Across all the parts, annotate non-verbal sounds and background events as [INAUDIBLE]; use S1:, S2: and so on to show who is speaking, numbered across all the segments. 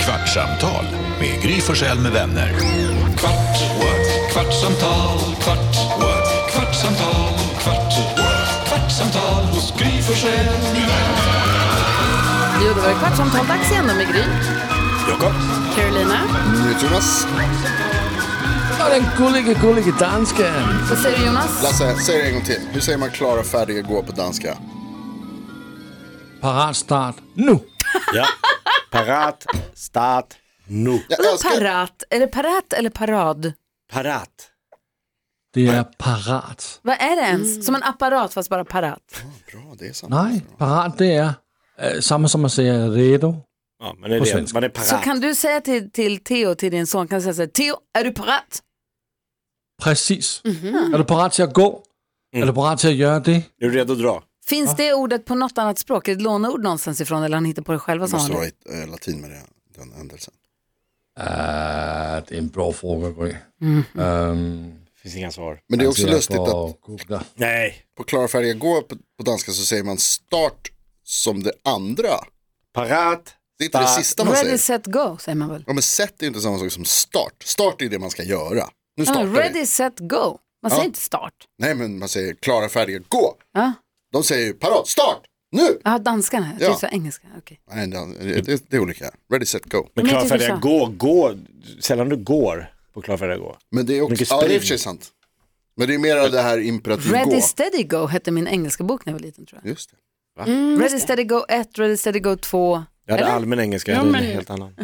S1: Kvartsamtal med Gry Forssell med vänner. Kvart, what? kvartsamtal, kvart, what? kvartsamtal, kvart, what? kvartsamtal hos Gry Forssell med vänner.
S2: Jo, då var det Kvartsamtal dags igen då med Gry.
S1: Jakob.
S2: Carolina.
S3: Jonas,
S4: Ja, den gullige, gullige dansken.
S2: Vad säger du Jonas?
S3: Lasse, säg det en gång till. Hur säger man klara, färdiga, gå på danska?
S4: Parat start nu.
S5: Ja. Parat, start, nu.
S3: Jag
S2: Vadå
S3: älskar,
S2: parat? Är det parat eller parad?
S5: Parat.
S4: Det är parat.
S2: Vad är det ens? Som en apparat fast bara parat.
S3: bra, det är sant.
S4: Nej, parat det är eh, samma som man säger redo.
S5: Ja, men det
S4: På
S5: är det.
S4: svenska.
S5: Man är
S2: Så
S5: parat.
S2: kan du säga till, till Theo, till din son, kan du säga så här, Theo, är du parat?
S4: Precis. Är du parat till att gå? Är du parat till att göra det?
S5: Är du redo att dra?
S2: Finns
S3: Ah.
S2: det ordet på något annat språk? Är det ett låneord någonstans ifrån eller har han hittar på det själva
S3: Det
S2: som
S3: måste vara
S2: vanligt?
S3: i eh, latin med det, den ändelsen.
S4: Eh, det är en bra fråga, Gry. Ehm,
S5: Finns inga svar.
S3: Men det är också
S4: jag
S3: lustigt
S4: får
S3: att
S4: googla.
S5: Nej.
S3: på klara, färdiga, gå på, på danska så säger man start som det andra.
S5: Parat.
S3: Det är inte det
S5: Start.
S3: sista man
S2: Ready,
S3: säger.
S2: set, go säger man väl?
S3: Ja, men set är inte samma sak som start. Start är det man ska göra. Nu
S2: Ja,
S3: startar
S2: men ready,
S3: vi.
S2: set, go. Man säger inte start.
S3: Nej, men man säger klara, färdiga, gå.
S2: Ja,
S3: De säger ju parat, start, nu.
S2: Jaha, danskarna. Jag
S3: Ja.
S2: tyckte det var engelska. Okej.
S3: Nej, det, det, det är olika. Ready, set, go.
S5: Men
S2: Men
S5: klara,
S2: jag tycker
S5: färdiga,
S2: så.
S5: gå, gå. Sällan du går på klara, färdiga, gå.
S3: Men det är också,
S5: Mycket
S3: ja, det är i
S5: spring.
S3: och för sig sant. Men det är mera det här imperativ
S2: Ready,
S3: gå.
S2: steady, go hette min engelska bok när jag var liten tror jag.
S3: Just det.
S2: ready, steady, go 1, ready, steady, go 2.
S5: Jag hade
S2: Eller?
S5: allmän engelska, jag
S6: Ja,
S5: hade
S6: men-
S5: en helt annan.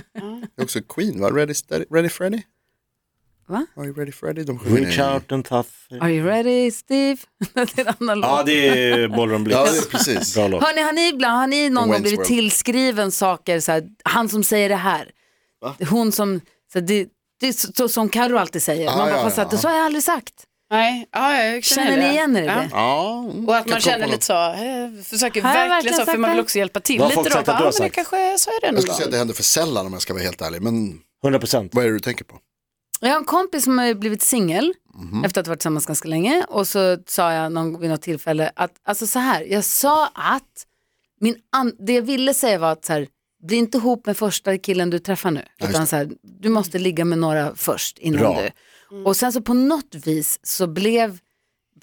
S3: Det är också Queen va? Ready, steady, ready Freddy?
S2: Va?
S3: Are you ready Freddy? De sjunger
S5: Reach
S3: i-
S5: out and tough.
S2: Are you ready Steve? [LAUGHS] det är en annan
S5: Ja,
S2: låt.
S5: det är Ballroom Blitz.
S3: Ja, det är precis.
S5: Bra låt.
S2: Hörni, har ni, ibland, har ni någon
S3: From
S2: gång
S3: Wayne's
S2: blivit
S3: World.
S2: tillskriven saker, så här, han som säger det här, hon som, så här, det, det är så, så, som Karo alltid säger,
S3: Ja,
S2: man bara,
S3: ja,
S2: fast
S3: ja,
S2: att, det
S3: ja.
S2: så har jag aldrig sagt.
S6: Nej, ja, jag känner,
S2: Känner
S6: det.
S2: ni igen er i
S6: Ja.
S2: det?
S3: Ja, mm,
S6: Och att
S3: kan komma
S6: man känner
S3: på
S6: lite så, eh, försöker
S2: Har jag verkligen
S6: verkligen så,
S2: sagt
S6: för man
S2: det?
S6: vill också hjälpa till
S5: Vad har folk
S6: lite då.
S5: sagt att
S6: Bara,
S5: du har
S6: ja, men det
S5: sagt?
S6: kanske, så är det
S3: Jag
S6: nog.
S3: skulle säga att det händer för sällan om jag ska vara helt ärlig. Men
S5: 100 procent.
S3: vad är det du tänker på?
S2: Jag har en kompis som har blivit singel efter att ha varit tillsammans ganska länge och så sa jag någon, vid något tillfälle att, alltså så här, jag sa att, min an, det jag ville säga var att så här, bli inte ihop med första killen du träffar nu, utan så här, du måste ligga med några först innan
S5: Bra.
S2: du. Och sen så på något vis så blev,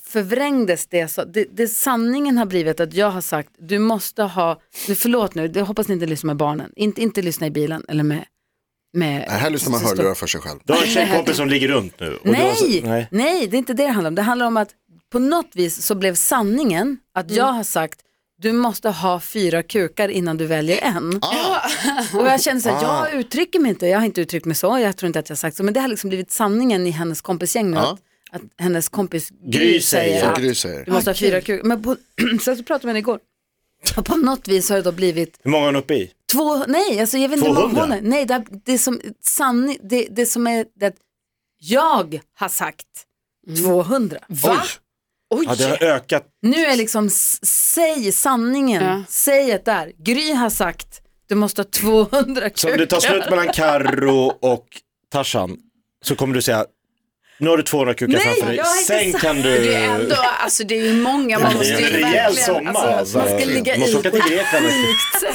S2: förvrängdes det, så, det, det sanningen har blivit att jag har sagt, du måste ha, nu förlåt nu, jag hoppas ni inte lyssnar med barnen, inte, inte lyssna i bilen eller med, med
S3: Nej, här lyssnar man
S2: syster.
S3: hörlurar för sig själv.
S5: Du har en tjejkompis som ligger runt nu. och du har
S2: Nej,
S5: så-
S2: nej.
S5: nej.
S2: det är inte det det handlar om. Det handlar om att på något vis så blev sanningen att jag har sagt du måste ha fyra kukar innan du väljer en. Och jag känner så här,
S5: Ah.
S2: jag uttrycker mig inte, jag har inte uttryckt mig så, jag tror inte att jag har sagt så, men det har liksom blivit sanningen i hennes kompisgäng nu.
S3: Ja.
S2: Att, att hennes kompis
S5: Ah. Gry säger.
S3: Som
S2: att
S3: Gry säger.
S2: du måste ha fyra kukar. Men på, [CLEARS THROAT] sen så pratade vi med henne igår. Och på något vis har det då blivit
S5: Hur många är hon uppe i?
S2: Två, nej, alltså jag vet inte
S5: 200?
S2: vad hon är. Nej, det, det, som, sanning, det, det som är det att jag har sagt 200.
S6: Mm. Va? Oj!
S5: Ja, det har ökat.
S2: Nu är liksom, s- säg sanningen,
S6: Ja.
S2: säg det där. Gry har sagt, du måste ha 200
S5: Så om det tar slut mellan Karro och Tarzan så kommer du säga nu har du 200 kukar
S2: Nej,
S5: framför dig.
S2: jag har inte
S5: Sen
S2: sagt
S5: kan du...
S6: Det är ändå, alltså det är ju många, man
S5: Det
S6: måste
S5: är
S6: ju
S5: en rejäl
S6: verkligen,
S5: sommar.
S6: alltså,
S5: Alltså,
S2: man ska ligga
S5: du
S2: i
S5: måste åka till Grekland.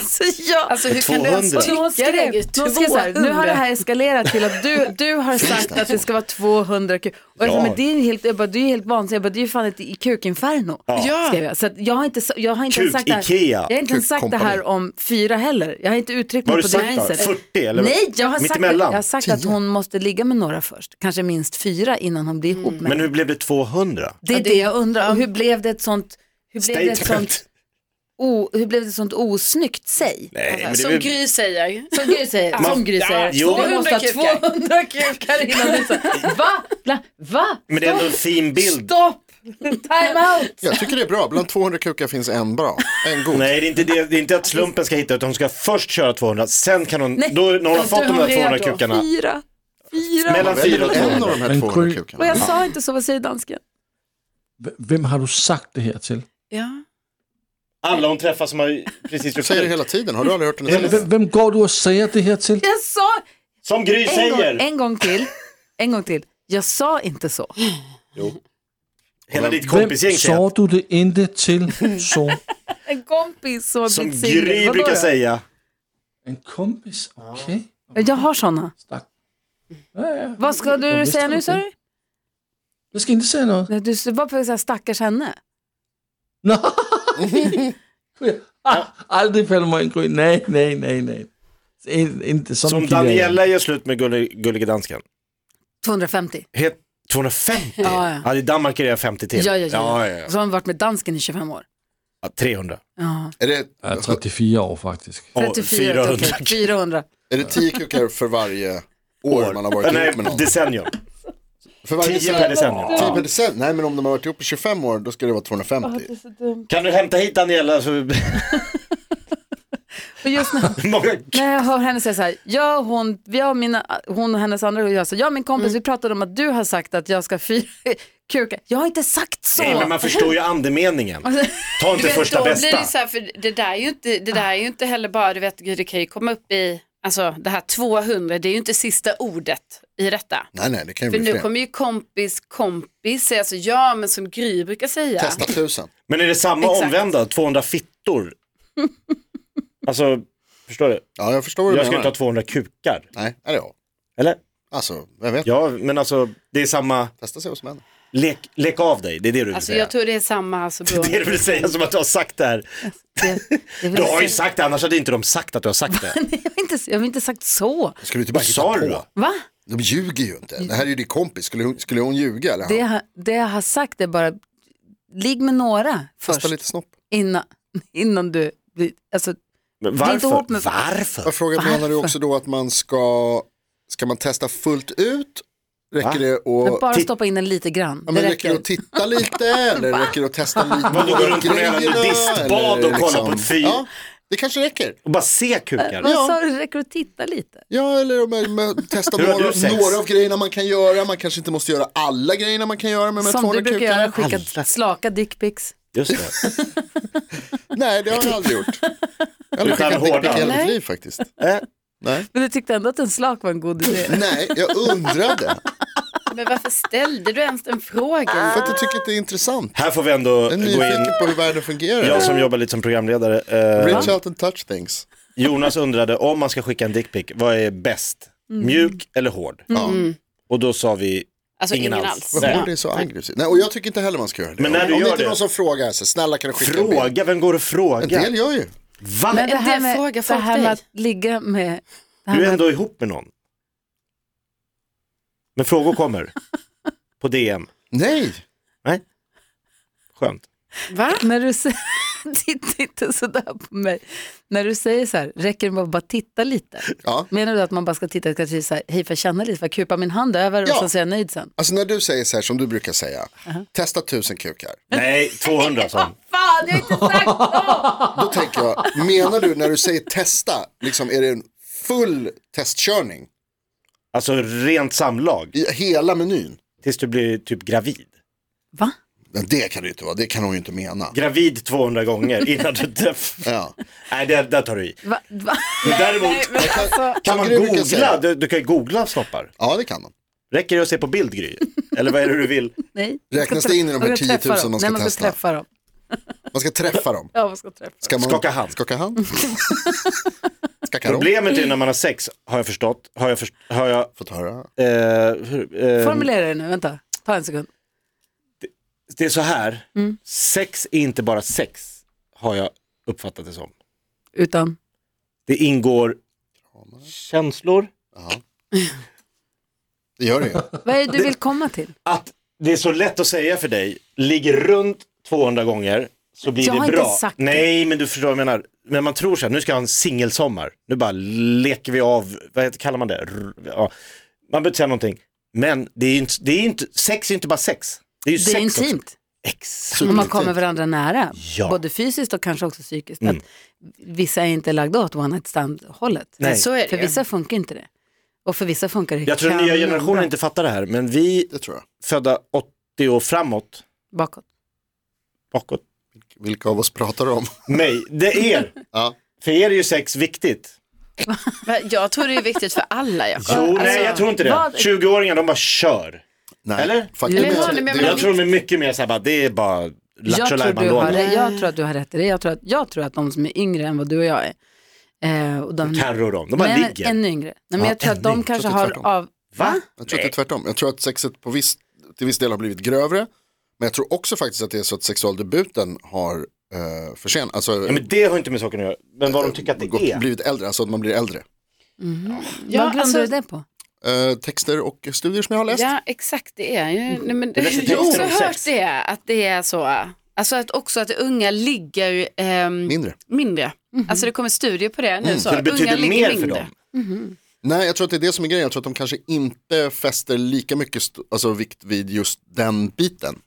S2: [LAUGHS] Så jag,
S6: alltså hur kan du ens
S5: 200?
S6: tycka
S2: någon skrev,
S6: det?
S2: någon skrev så här, nu har det här eskalerat till att du, du har sagt att det ska vara 200 kuk. Och jag sa,
S5: Ja.
S2: men det är ju helt, jag bara, du är ju helt vansinnigt, jag bara, det är ju fan ett i- kukinferno.
S6: Ja.
S2: skrev jag. Så att jag har inte, sa- jag har inte
S5: Kuk,
S2: ens sagt det här.
S5: Ikea.
S2: Jag har inte ens sagt det
S3: Kukkompani.
S2: här om fyra heller. Jag har inte uttryckt
S5: Vad
S2: mig
S5: har
S2: på
S5: du
S2: det
S5: sagt då?
S2: viset.
S5: 40 eller?
S2: Nej, jag har
S5: Mitt
S2: sagt, att,
S5: emellan?
S2: jag har sagt att hon måste ligga med några först. Kanske minst fyra innan hon blir ihop med
S5: Mm. Men hur blev det 200?
S2: Det är det jag undrar. Och hur blev det ett sånt, hur blev det ett
S5: Statement.
S2: sånt, o, hur blev det ett sånt osnyggt säg?
S5: Nej, men det
S2: alltså,
S6: Som
S5: blev-
S6: Gry säger,
S2: Som Gry säger.
S5: Man-
S2: som Gry säger.
S5: Ja, jo.
S2: Du måste ha
S6: 200
S2: 200 kukar innan du sa. [LAUGHS] Va? Bla, va?
S5: Men det är ändå en fin bild.
S2: Stopp! Time out!
S3: Jag tycker det är bra. Bland 200 kukar finns en bra. En god.
S5: Nej, det är, inte det, det är inte att slumpen ska hitta utan hon ska först köra 200, sen kan hon, då, när hon har fått de där 200 kukarna,
S2: Fyra. Fyra.
S5: mellan
S3: Väljer
S5: 4 och
S3: väl en av
S5: 200.
S3: de här
S4: Men
S3: 200
S4: Gry-
S2: Och
S3: kukarna.
S2: jag sa inte så, vad säger dansken?
S4: V- Vem har du sagt det här till?
S6: ja.
S5: Alla hon träffar som har precis
S3: Jag säger det
S5: gjort
S3: hela tiden. Har du aldrig hört den?
S4: Eller vem, vem går du och säger det här till?
S2: Jag sa
S5: Som Gry
S2: en gång,
S5: säger!
S2: en gång till, en gång till. Jag sa inte så.
S5: Hela ditt kompisgäng
S4: Vem
S5: säger
S4: sa du det inte [LAUGHS] till? Så.
S2: En kompis som har
S5: Som
S2: blivit singel.
S5: Gry
S2: Vadå
S5: brukar
S2: då?
S5: säga.
S4: En kompis? Okej.
S2: Jag har sådana.
S4: Stack. Ja, ja.
S2: Vad ska
S4: Jag
S2: du
S4: visste
S2: säga nu
S4: inte.
S2: sa du?
S4: Jag ska inte säga något.
S2: Nej, Du var på att säga stackars henne.
S4: Ah, [LAUGHS] aldrig fäller man en gryn. Nej, nej, nej, nej. In- Inte sån
S5: Som
S4: kille är jag.
S5: Daniela gör slut med gullig, Gullige Dansken.
S2: 250.
S5: Het 250?
S2: Ja, ja.
S5: I Danmark är det 50 till.
S2: Ja, ja, ja.
S3: Ja, ja, ja.
S2: Så har hon varit med dansken i 25 år.
S5: Ja, 300.
S2: Ja.
S3: Är det,
S4: Jag är 34 år faktiskt.
S5: Och
S2: 34, okej.
S5: 400.
S2: 400.
S3: är det tio kuckar för varje år man har varit
S5: Nej,
S3: ihop med någon?
S5: decennium.
S3: För [LAUGHS] varje
S5: 10 per decennium.
S3: Tio per decent? Nej men om de har varit ihop i 25 år då ska det vara 250.
S5: Kan du hämta hit Daniela? Så... [LAUGHS]
S2: Och just när,
S5: Många...
S2: när jag hör henne säga så här, jag, hon, jag, mina, hon och hennes andra, och jag, så, jag och min kompis, vi pratade om att du har sagt att jag ska fyra [LAUGHS] kuka. Jag har inte sagt så!
S5: Nej, men man förstår ju
S6: [LAUGHS]
S5: andemeningen. Ta inte
S6: Du vet,
S5: första
S6: då blir
S5: bästa.
S6: Alltså, det så här, för det där är ju inte, det där är ju inte heller bara, du vet, gud, det kan ju komma upp i, alltså det här 200, det är ju inte sista ordet i detta.
S3: Nej nej det kan ju
S6: För
S3: bli
S6: nu
S3: fler.
S6: kommer ju kompis kompis säga, alltså ja, men som Gry brukar säga.
S3: Testa tusen.
S5: Men är det samma
S6: Exakt.
S5: omvända? 200
S6: [LAUGHS]
S5: fittor? Alltså, förstår du?
S3: Ja jag förstår vad du
S5: Jag ska
S3: menar.
S5: inte ha 200 kukar.
S3: Nej, eller ja.
S5: Eller?
S3: Alltså vem vet.
S5: Ja, men alltså det är samma.
S3: Testa se vad som händer.
S5: Lek, lek av dig, det är det du vill
S6: Alltså
S5: säga.
S6: jag tror det är samma,
S5: [LAUGHS]
S6: alltså
S5: Det är det
S6: beroende.
S5: du vill säga som att du har sagt det här.
S2: Det, det vill
S5: [LAUGHS] Du har ju
S2: säga-
S5: sagt det, annars hade inte de sagt att du har
S2: [LAUGHS]
S5: sagt det.
S2: Nej, [LAUGHS] jag, har inte, jag har inte sagt så.
S3: Ska du inte bara
S5: Vad
S3: hitta
S5: sa du
S3: på?
S5: då?
S2: Va?
S3: De ljuger ju inte. Det här är ju din kompis. Skulle hon, skulle hon ljuga eller?
S2: Det,
S3: han?
S2: jag har- det jag har sagt är bara, ligg med några
S3: Testa
S2: först
S3: lite snopp.
S2: innan, [LAUGHS] innan du, blir- alltså,
S5: Men
S2: är inte
S5: varför?
S2: ihop med-
S5: Varför?
S3: Jag frågar, menar du också då att man ska, ska man testa fullt ut?
S5: Va?
S3: Räcker det
S2: men
S3: att
S2: bara
S5: titt-
S2: stoppa in en lite grann.
S3: Ja, men
S2: det
S3: räcker det att titta lite eller räcker det att testa lite?
S5: Vadå, går du runt på en
S3: grejerna,
S5: jävla distbad
S3: eller liksom-
S5: och kollar på ett fyr?
S3: Ja, det kanske räcker.
S5: Och bara se kukar.
S2: Vad sa du, räcker det att titta lite?
S3: Ja, eller om man, man testar
S5: [LAUGHS] Hur har
S3: några,
S5: du sex?
S3: några av grejerna man kan göra. Man kanske inte måste göra alla grejerna man kan göra med de här
S2: Som
S3: 200
S2: du brukar
S3: kukarna.
S2: göra, skicka slaka dickpics.
S5: Just det.
S3: Nej, det har jag aldrig gjort. Jag har aldrig
S5: Utan
S3: skickat dickpic i hela
S6: hårda.
S3: mitt liv faktiskt.
S5: Eh,
S3: Nej.
S2: Men du tyckte ändå att en slak var en god idé.
S3: Nej, jag undrade.
S6: Men varför ställde du ens den frågan?
S3: För att jag tycker att det är intressant.
S5: här får vi ändå
S3: Jag är
S5: gå in.
S3: nyfiken på hur världen fungerar.
S5: Jag som jobbar lite som programledare. Eh,
S3: Reach out and touch things.
S5: Jonas undrade om man ska skicka en dickpic, vad är bäst?
S2: Mm.
S5: Mjuk eller hård? Och då sa vi
S6: Alltså
S5: ingen
S6: ingen,
S5: alls.
S6: alls.
S3: Varför
S5: Nej.
S3: är det så aggressivt? Nej, och jag tycker inte heller man ska göra det.
S5: Men när du
S3: Om
S5: gör
S3: det inte
S5: det-
S3: är någon som frågar, så snälla kan du skicka en bild?
S5: fråga, vem går och
S3: En
S5: frågar?
S3: del gör ju.
S5: Va?
S2: Men det
S6: En
S2: här
S6: del
S2: med,
S6: frågar
S2: det
S6: folk
S2: här med
S6: dig.
S2: att ligga med... Det här
S5: Du är
S2: med,
S5: ändå ihop med någon. Men
S2: [LAUGHS]
S5: frågor kommer. På DM.
S3: Nej,
S5: Nej. Skönt.
S6: Va?
S2: när du [LAUGHS] säger... Titta inte sådär på mig. När du säger så här, räcker det med att bara titta lite?
S3: Ja.
S2: Menar du att man bara ska titta, kanske så här, hej för jag känner lite, för jag kupar min hand över
S3: Ja.
S2: och sen säger jag nöjd sen?
S3: alltså när du säger så här som du brukar säga, testa tusen kukar.
S5: Nej, 200 sa han.
S6: Fan, jag har inte sagt
S3: Då tänker jag, menar du när du säger testa, liksom är det en full testkörning?
S5: Alltså rent samlag.
S3: I hela menyn?
S5: Tills du blir typ gravid.
S2: Va?
S3: Men det kan det ju inte vara, det kan hon ju inte mena.
S5: Gravid 200 gånger innan du träffar.
S3: Ja.
S5: Nej, det, där tar du i.
S2: Va? Va?
S5: Men däremot kan man
S3: Saker du brukar
S5: googla.
S3: säga.
S5: Du, du kan ju googla snoppar.
S3: ja, det kan man.
S5: Räcker det att se på bild, Gry? Eller vad är det du vill?
S2: [LAUGHS] Nej.
S3: Räknas det in i de här
S2: Man ska
S3: 10 000
S2: träffa dem.
S3: man ska
S2: Nej, man ska
S3: testa?
S2: träffa dem.
S3: Man ska träffa dem.
S2: Ja, man ska träffa dem.
S3: Ska man
S5: Skaka hand.
S3: Skaka
S5: [LAUGHS]
S3: hand. Skaka dem.
S5: Problemet är när man har sex, har jag förstått. Har jag, först, har jag
S3: Fått höra.
S5: eh, hur- eh,
S2: Formulera det nu, vänta. Ta en sekund.
S5: det är så här, sex är inte bara sex, har jag uppfattat det som.
S2: Utan,
S5: Det ingår känslor,
S3: Det gör det ju.
S2: vad är det du vill komma till?
S5: att det är så lätt att säga för dig, ligger runt 200 gånger så blir
S2: Jag
S5: det
S2: har inte
S5: bra.
S2: sagt det.
S5: Nej, men du förstår vad jag menar. Men man tror så här, nu ska jag ha en singelsommar, nu bara leker vi av, vad heter, kallar man det? R- Ja. Man behöver inte säga någonting. Men det är ju inte, det är ju inte, sex är inte bara sex. Det är ju
S2: Det
S5: sex
S2: är
S5: också.
S2: intimt.
S5: Exakt.
S2: Om man kommer varandra nära,
S5: Ja. Mm.
S2: både fysiskt och kanske också psykiskt. Att vissa är inte lagda åt one night stand hållet.
S5: Nej.
S6: Så är
S2: För
S6: det ju.
S2: vissa funkar inte det. Och för vissa funkar det
S5: Jag tror den nya generationen inte fattar det här, men vi
S3: Det tror jag.
S5: födda 80 och framåt,
S2: bakåt.
S5: bakåt,
S3: Vilka av oss pratar du om?
S5: mig, det är er.
S3: Ja.
S5: För er är ju sex viktigt.
S6: Va? Jag tror det är viktigt för alla. Alltså, Jag
S5: Jo, nej jag tror inte det.
S2: alltså, vad-
S5: 20-åringar de bara kör.
S3: Nej.
S5: Eller?
S3: Faktum
S6: Eller
S3: är
S6: har
S3: att
S6: ni
S3: det,
S6: med
S3: det,
S6: mig?
S5: Jag tror de är mycket mer såhär bara, det är bara lattjo
S2: Jag tror, du har,
S5: lajban
S2: rätt- jag tror att du har rätt i det. Jag tror att, jag tror att de som är yngre än vad du och jag är, Eh, och de,
S5: Terror dem, de bara
S2: Nej, men
S5: ligger.
S2: Ännu yngre. Nej, men
S5: Ja,
S2: jag tror att
S5: ännu
S2: de
S5: yngre.
S2: kanske
S3: Jag tror
S2: har
S3: att det är
S2: av...
S5: Va?
S3: Jag tror att det är tvärtom. Jag tror att sexet på viss, till viss del har blivit grövre. Men jag tror också faktiskt att det är så att sexualdebuten har eh, försenat, alltså
S5: Ja, men det har inte med saken att göra. Men vad de tycker att det
S3: gått,
S5: är.
S3: blivit äldre, alltså att man blir äldre.
S6: Ja,
S2: vad grundar
S6: alltså-
S2: du det på?
S3: Eh, texter och studier som jag har läst.
S6: Ja, exakt det är ju. Nej, men,
S5: Mm. Det är
S6: jag har också
S5: om
S6: hört
S5: sex.
S6: det, att det är så. Alltså att också att unga ligger ehm,
S3: Mindre.
S6: mindre.
S2: Mhm.
S6: Alltså det kommer studier på det nu. så,
S5: Mm. Så det
S6: att unga
S5: betyder
S6: ligger
S5: mer för
S6: mindre.
S5: dem.
S3: Nej, jag tror att det är det som är grejen. Jag tror att de kanske inte fäster lika mycket st- alltså, vikt vid just den biten.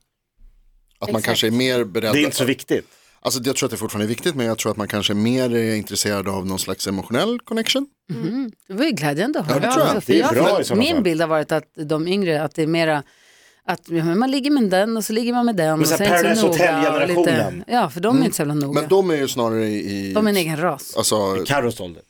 S3: Att man kanske är mer beredd.
S5: Det är inte så viktigt.
S3: Alltså, jag tror att det fortfarande är viktigt, men jag tror att man kanske är mer eh, intresserad av någon slags emotionell connection.
S2: Det var ju glädjande att höra.
S3: det tror jag.
S2: För
S5: Det är bra i sådana
S2: Min
S5: fall.
S2: bild har varit att de yngre, att det är mera att ja, men man ligger med den och så ligger man med den. och
S5: så här
S2: är det inte
S5: Paradise
S2: noga och lite-
S5: Hotel-generationen. Mm.
S2: Ja, för de är inte så jävla noga.
S3: Men de är ju snarare i...
S2: de är en egen ras.
S3: Alltså,
S5: Carros ålder.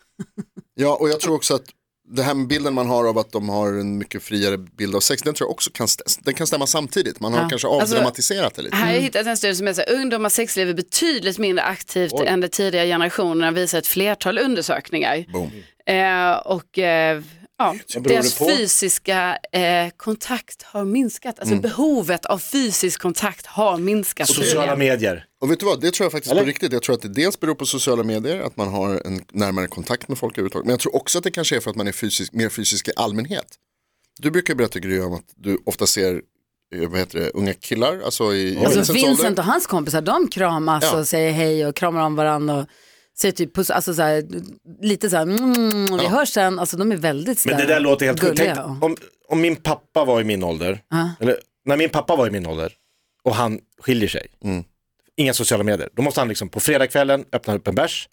S3: Ja, och jag tror också att det här med bilden man har av att de har en mycket friare bild av sex, den tror jag också kan, st- den kan stämma samtidigt. Man har kanske
S2: Alltså,
S3: avdramatiserat det lite.
S6: Här har
S2: Mm.
S6: jag hittat en studie som är så här, ungdomars sexliv är betydligt mindre aktivt än de tidigare generationerna visar ett flertal undersökningar.
S3: Boom.
S6: Eh, och eh, ja,
S5: beror det
S6: deras
S5: på?
S6: fysiska eh, kontakt har minskat.
S5: Mm.
S6: Alltså behovet av fysisk kontakt har minskat.
S5: Sociala medier.
S3: Och vet du vad, det tror jag faktiskt
S5: Eller?
S3: på riktigt. Jag tror att det dels beror på sociala medier, att man har en närmare kontakt med folk överhuvudtaget. Men jag tror också att det kanske är för att man är fysisk, mer fysisk i allmänhet. Du brukar ju berätta Gry om att du ofta ser eh, vad heter det, unga killar, alltså i i
S2: Alltså
S3: Vincents ålder.
S2: Vincent och hans kompisar, de kramas
S3: Ja.
S2: och säger hej och kramar om varandra. Och säger typ puss, alltså så här, lite så här, mm, vi hörs sen. Alltså de är väldigt
S5: Men det där låter helt sjukt. Tänk
S2: gulliga. och-
S5: Om, om min pappa var i min ålder, eller när min pappa var i min ålder och han skiljer sig, inga sociala medier, då måste han liksom på fredagskvällen öppna upp en bärs,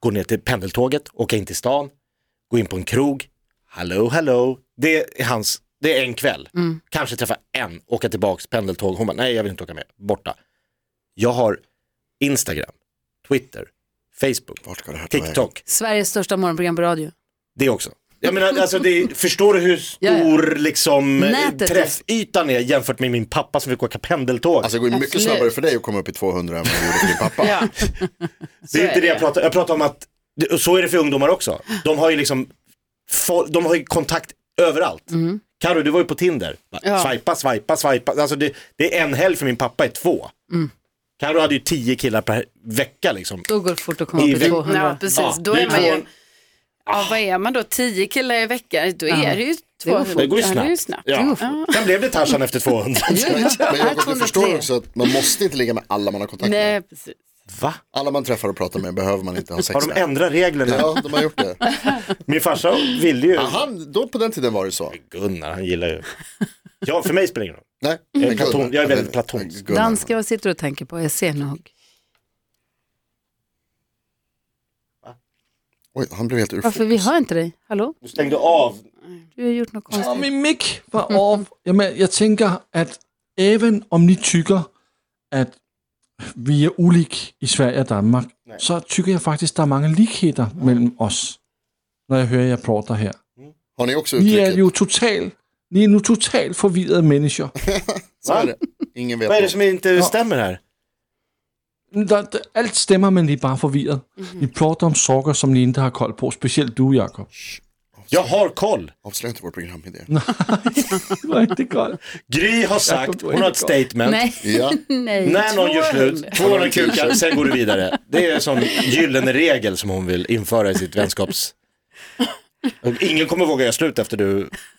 S5: gå ner till pendeltåget, åka in till stan, gå in på en krog, hallå, hallå, det är hans, det är en kväll,
S2: Mm.
S5: kanske träffa en, åka tillbaks, pendeltåg, hon bara, nej jag vill inte åka med, borta. Jag har Instagram, Twitter,
S3: Vart
S5: Facebook,
S3: ska det här ta vägen?
S5: TikTok,
S2: Sveriges största morgonprogram på radio.
S5: det också. Jag menar, alltså det, förstår du hur stor
S2: Ja, ja.
S5: liksom, eh,
S2: Nätet.
S5: träffytan är jämfört med min pappa som fick åka pendeltåg?
S3: Alltså det går ju mycket
S6: Absolut.
S3: snabbare för dig att komma upp i 200 än vad det gjorde för din pappa.
S6: Ja.
S5: det är
S6: så
S5: inte
S6: är
S5: det jag
S6: det.
S5: pratar Jag pratar om att, det- och så är det för ungdomar också. De har ju liksom, fol- de har ju kontakt överallt. Mm. Karo, du var ju på Tinder. Bara,
S6: Ja.
S5: Swipa, swipa, swipa. Alltså det, det är en helg för min pappa är två. Karo hade ju tio killar per vecka liksom.
S2: Då går det fort att komma upp
S5: I
S2: i
S5: veckan.
S2: 200.
S6: Ja, precis.
S5: Ja,
S6: då
S5: det
S6: är
S5: är
S6: man ju,
S5: två- Ah.
S6: ja, vad är man då, tio killar i veckan, då är det ju
S2: går
S6: 200.
S5: Det går ju
S6: Ja,
S5: snabbt.
S6: det är ju snabbt. Mm.
S5: Ja. Sen blev det Tarzan efter 200.
S3: Men
S2: Här
S3: Jakob, du
S2: 203.
S3: förstår också att man måste inte ligga med alla man har kontakt med.
S6: Nej, precis.
S5: Va?
S3: Alla man träffar och pratar med behöver man inte ha sex
S5: Har de
S3: med.
S5: ändrat reglerna?
S3: Ja, de har gjort det.
S5: Min farsa ville ju...
S3: Ja, Han, då på den tiden var det så.
S5: Gunnar, han gillar ju. [LAUGHS] Ja, för mig spelar det ingen roll.
S3: Nej,
S5: är
S3: Gunnar.
S5: platon- jag är väldigt platonsk.
S3: Gunnar.
S2: Danska, vad sitter du och tänker på? Jag ser nog.
S3: Oj, han blev helt ur
S2: Varför? Vi hör inte dig. Hallå?
S5: Du stängde av.
S2: Du har gjort något
S4: Ja,
S2: konstigt.
S4: min mick var av. Jamen, jag tänker att även om ni tycker att vi är olika i Sverige och Danmark, så tycker jag faktiskt det är många likheter mellan oss. När jag hör er prata här.
S3: Har ni också
S4: Ni är
S3: uttrycket?
S4: ju totalt, ni är nu totalt förvirrade människor.
S3: Så är det. Ingen vet.
S5: Vad är det
S3: något.
S5: som inte stämmer här?
S4: Der, der, alt stemmer, men ni er bare forvirret. Ni prater om sokker, som ni ikke har kold på. Specielt du, Jacob.
S5: Jag har koll.
S3: Avslöja inte vår programidé.
S4: Det var ikke kold.
S5: Gry har
S4: Jag
S5: sagt,
S4: kommer
S5: hon har ett
S4: inte ihåg.
S5: statement.
S2: Nej.
S3: Ja,
S2: Nej.
S5: När någon gör slut, 200 kukar, sen går du vidare. Det är en sån gyllene regel som hon vill införa i sitt vänskaps... Ingen kommer våga göra slut efter du...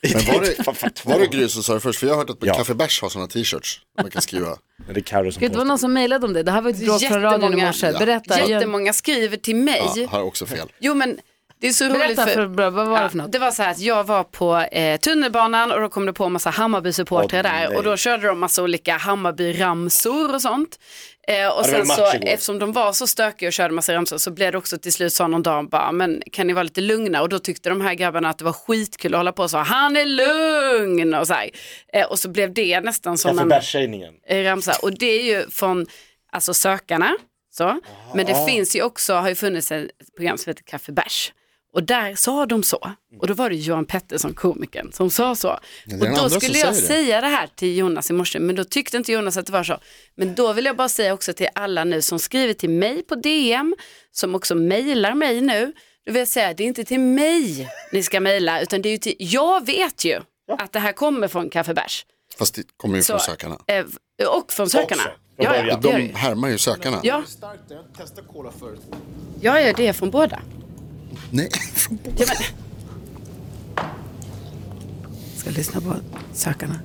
S3: men var det,
S5: [LAUGHS] Fan, fan, två.
S3: var det Gry som sa det först? För jag har hört att
S5: Ja.
S3: Café Bärs har sådana t-shirts. Man kan
S6: [LAUGHS]
S3: skriva.
S5: Men Det är Carro som
S2: Gud, det var
S5: påstår.
S2: någon som mejlade om det. Det här var ett bråk från radion i
S6: Jättemånga.
S2: morse. Berätta. Gör-
S6: Jättemånga skriver till mig.
S3: Ja, har också fel.
S6: Jo men det är så roligt
S2: Berätta,
S6: för,
S2: för, vad var det för
S6: Ja,
S2: något?
S6: det var så här att jag var på eh, tunnelbanan och då kom det på en massa Hammarby-supportrar
S5: Åh,
S6: där
S5: nej.
S6: och då körde de massa olika Hammarby-ramsor och sånt. Eh,
S5: det var
S6: och sen
S5: en match
S6: så,
S5: igår.
S6: eftersom de var så stökiga och körde massa ramsor så blev det också till slut så någon dag bara, men kan ni vara lite lugna? Och då tyckte de här grabbarna att det var skitkul att hålla på och sa, han är lugn och så här. Eh, och så blev det nästan som
S5: Kaffe
S6: en
S5: bärs-sägningen.
S6: eh, ramsa. Och det är ju från alltså sökarna. Så. Men det finns ju också, har ju funnits ett program som heter Kaffe Bärs. Och där sa de så.
S3: Mm.
S6: Och då var det Johan Pettersson, komikern, som sa så.
S3: den
S6: Och
S3: andra
S6: då
S3: som
S6: skulle jag
S3: säger det.
S6: säga det här till Jonas i morse, men då tyckte inte Jonas att det var så. Men då vill jag bara säga också till alla nu som skriver till mig på DM, som också mejlar mig nu, Då vill jag säga, det är inte till mig ni ska mejla, utan det är ju till, jag vet ju att det här kommer från Kaffebärs.
S3: Fast det kommer ju från
S6: Så,
S3: sökarna.
S6: eh, Och från sökarna.
S5: från
S6: ja, ja,
S5: början.
S6: det gör
S3: De
S6: det.
S3: härmar ju sökarna.
S6: Ja. Ja, ja, det är från båda.
S3: Nej, [LAUGHS]
S6: Ja, men,
S2: Ska lyssna på sökarna.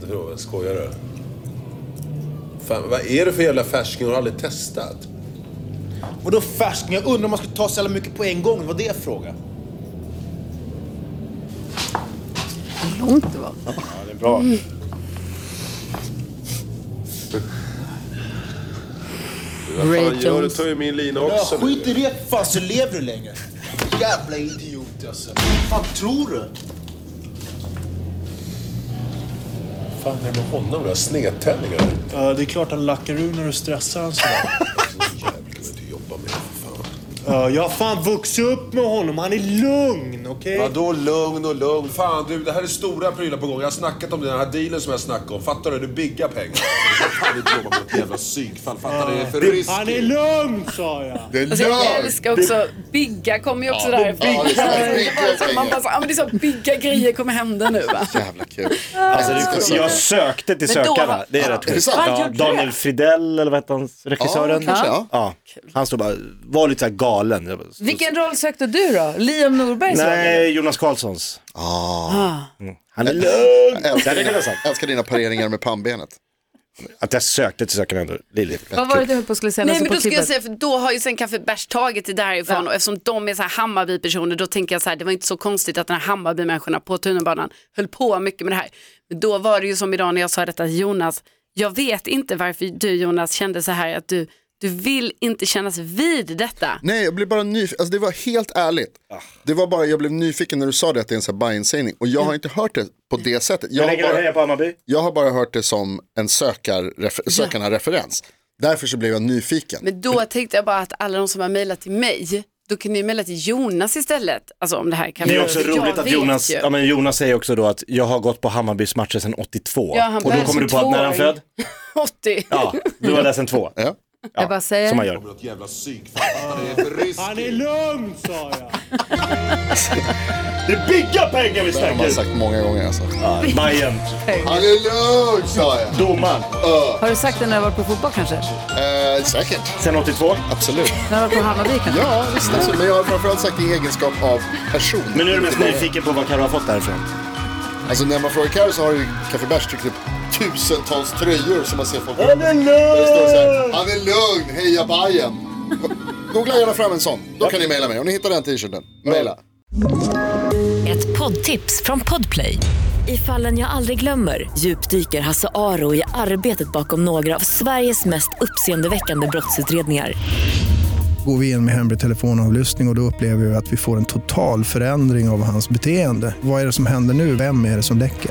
S7: Vadå, skojar du? Fan, vad är det för jävla färsking? Har du aldrig testat?
S8: Vadå färsking? Jag undrar om man skulle ta så jävla mycket på en gång. Det var det jag frågade.
S2: Vad långt det var. Ray
S7: Fan, gör du
S2: Jones.
S7: tar ju min lina
S8: Ja,
S7: också nu.
S8: skit i det fan så lever du längre. Jävla idiot alltså. Vad fan tror du?
S7: fan är det med honom då? Snedtändningar?
S9: Ja, Eh, det är klart han lackar ur när du stressar han sådär.
S7: Jävlar vad du jobbar med för fan.
S9: Ja, jag har fan vuxit upp med honom. Han är lugn, okej?
S7: Vadå lugn och lugn? Fan du, det här är stora prylar på gång. Jag har snackat om den här dealen som jag snackade om. Fattar du? Du biggar pengar. Du kan inte jobba med ett jävla psykfall. Fattar du? Det är för
S9: Han är
S7: riskigt.
S9: lugn, sa jag!
S3: det är
S6: alltså, jag
S3: lögn!
S6: älskar också, bigga kommer ju också därifrån.
S3: Ja, det är så här,
S6: Det var
S3: bigga
S6: så- Man bara, så, ja, men det är så bigga grejer kommer hända nu va?
S3: Jävla
S6: [LAUGHS]
S3: kul.
S5: Alltså, det, jag sökte till
S6: Men då-
S5: sökarna. Det är rätt
S3: Är det
S5: sjukt.
S3: sant?
S6: Vad
S5: Ja,
S6: gjorde du?
S5: Daniel Fridell, eller vad hette han, regissören?
S3: Ja, kanske, ja.
S5: Han stod bara, var lite så här galen. Jag bara,
S2: Vilken roll sökte du då? Liam Norberg sa det.
S5: Nej, Jonas Karlssons. Mm.
S2: Ah.
S5: Han är lugn.
S3: Jag
S5: Det
S3: älskar
S5: hade jag kunnat
S3: dina,
S5: sagt.
S3: älskar dina pareringar med pannbenet.
S5: Att jag sökte till sökarna ändå. Det är lite
S2: Vad var det du höll på att skulle säga?
S6: Nej
S2: Lasse,
S5: Alltså,
S6: men
S2: på
S6: då skulle jag
S2: klippet?
S6: säga, för då har ju sen Kaffebärs tagit det därifrån och eftersom de är så här Hammarby-personer då tänker jag så här, det var inte så konstigt att den här Hammarby-människorna på tunnelbanan höll på mycket med det här. Men då var det ju som idag när jag sa detta till Jonas, jag vet inte varför du Jonas kände så här att du, du vill inte kännas vid detta.
S3: Nej, jag blev bara nyfiken. Alltså, det var helt ärligt.
S5: Ah.
S3: Det var bara, jag blev nyfiken när du sa det att det är en sån här Bajen-sägning. Och jag har inte hört det på det sättet. Jag
S5: Hur
S3: har
S5: länge har du
S3: bara,
S5: hejat på Hammarby?
S3: jag har bara hört det som en sökarrefer- sökarna-referens. Därför så blev jag nyfiken.
S6: Men då tänkte jag bara att alla de som har mejlat till mig, då kan ni mejla till Jonas istället. Alltså om det här kan
S5: Det är också
S6: Jag
S5: roligt att
S6: vet
S5: Jonas,
S6: ju.
S5: ja, men Jonas säger också då att jag har gått på Hammarbys matcher sedan 82.
S6: Ja, han
S5: och då
S6: började
S5: kommer
S6: som
S5: du på att när han
S6: tvååring.
S5: född?
S6: [LAUGHS] 80.
S5: Ja, du var där sedan två.
S3: Ja.
S5: Ja,
S2: Jag bara säger.
S5: Som man gör.
S7: Med ett jävla psykfall. Fattar du? Det är för riskigt.
S9: Han är lugn, sa jag!
S5: Det är bigga pengar vi
S3: Det har man sagt många gånger alltså.
S5: Bajen,
S3: Han är lugn sa jag.
S5: domaren,
S2: Har du sagt det när du har varit på fotboll kanske?
S3: Eh, säkert,
S5: sedan 82.
S3: absolut.
S2: När du har varit på Hammarby kanske?
S3: Ja, visst. Alltså, men jag har framförallt sagt det i egenskap av person.
S5: Men nu är du mest nyfiken på vad Carro har fått därifrån.
S3: Alltså när man frågar Carro så har ju Café Bärs tryckt upp tusentals tröjor som man ser folk
S5: Han är lugn!
S3: Där det står så här, Han är lugn, heja Bajen.
S5: [LAUGHS]
S3: Googla gärna fram en sån. Då kan ni mejla mig. Om ni hittar den t-shirten, mejla.
S10: Ett poddtips från Podplay. I fallen jag aldrig glömmer djupdyker Hasse Aro i arbetet bakom några av Sveriges mest uppseendeväckande brottsutredningar.
S11: Går vi in med hemlig telefonavlyssning och, och då upplever vi att vi får en total förändring av hans beteende. Vad är det som händer nu? Vem är det som läcker?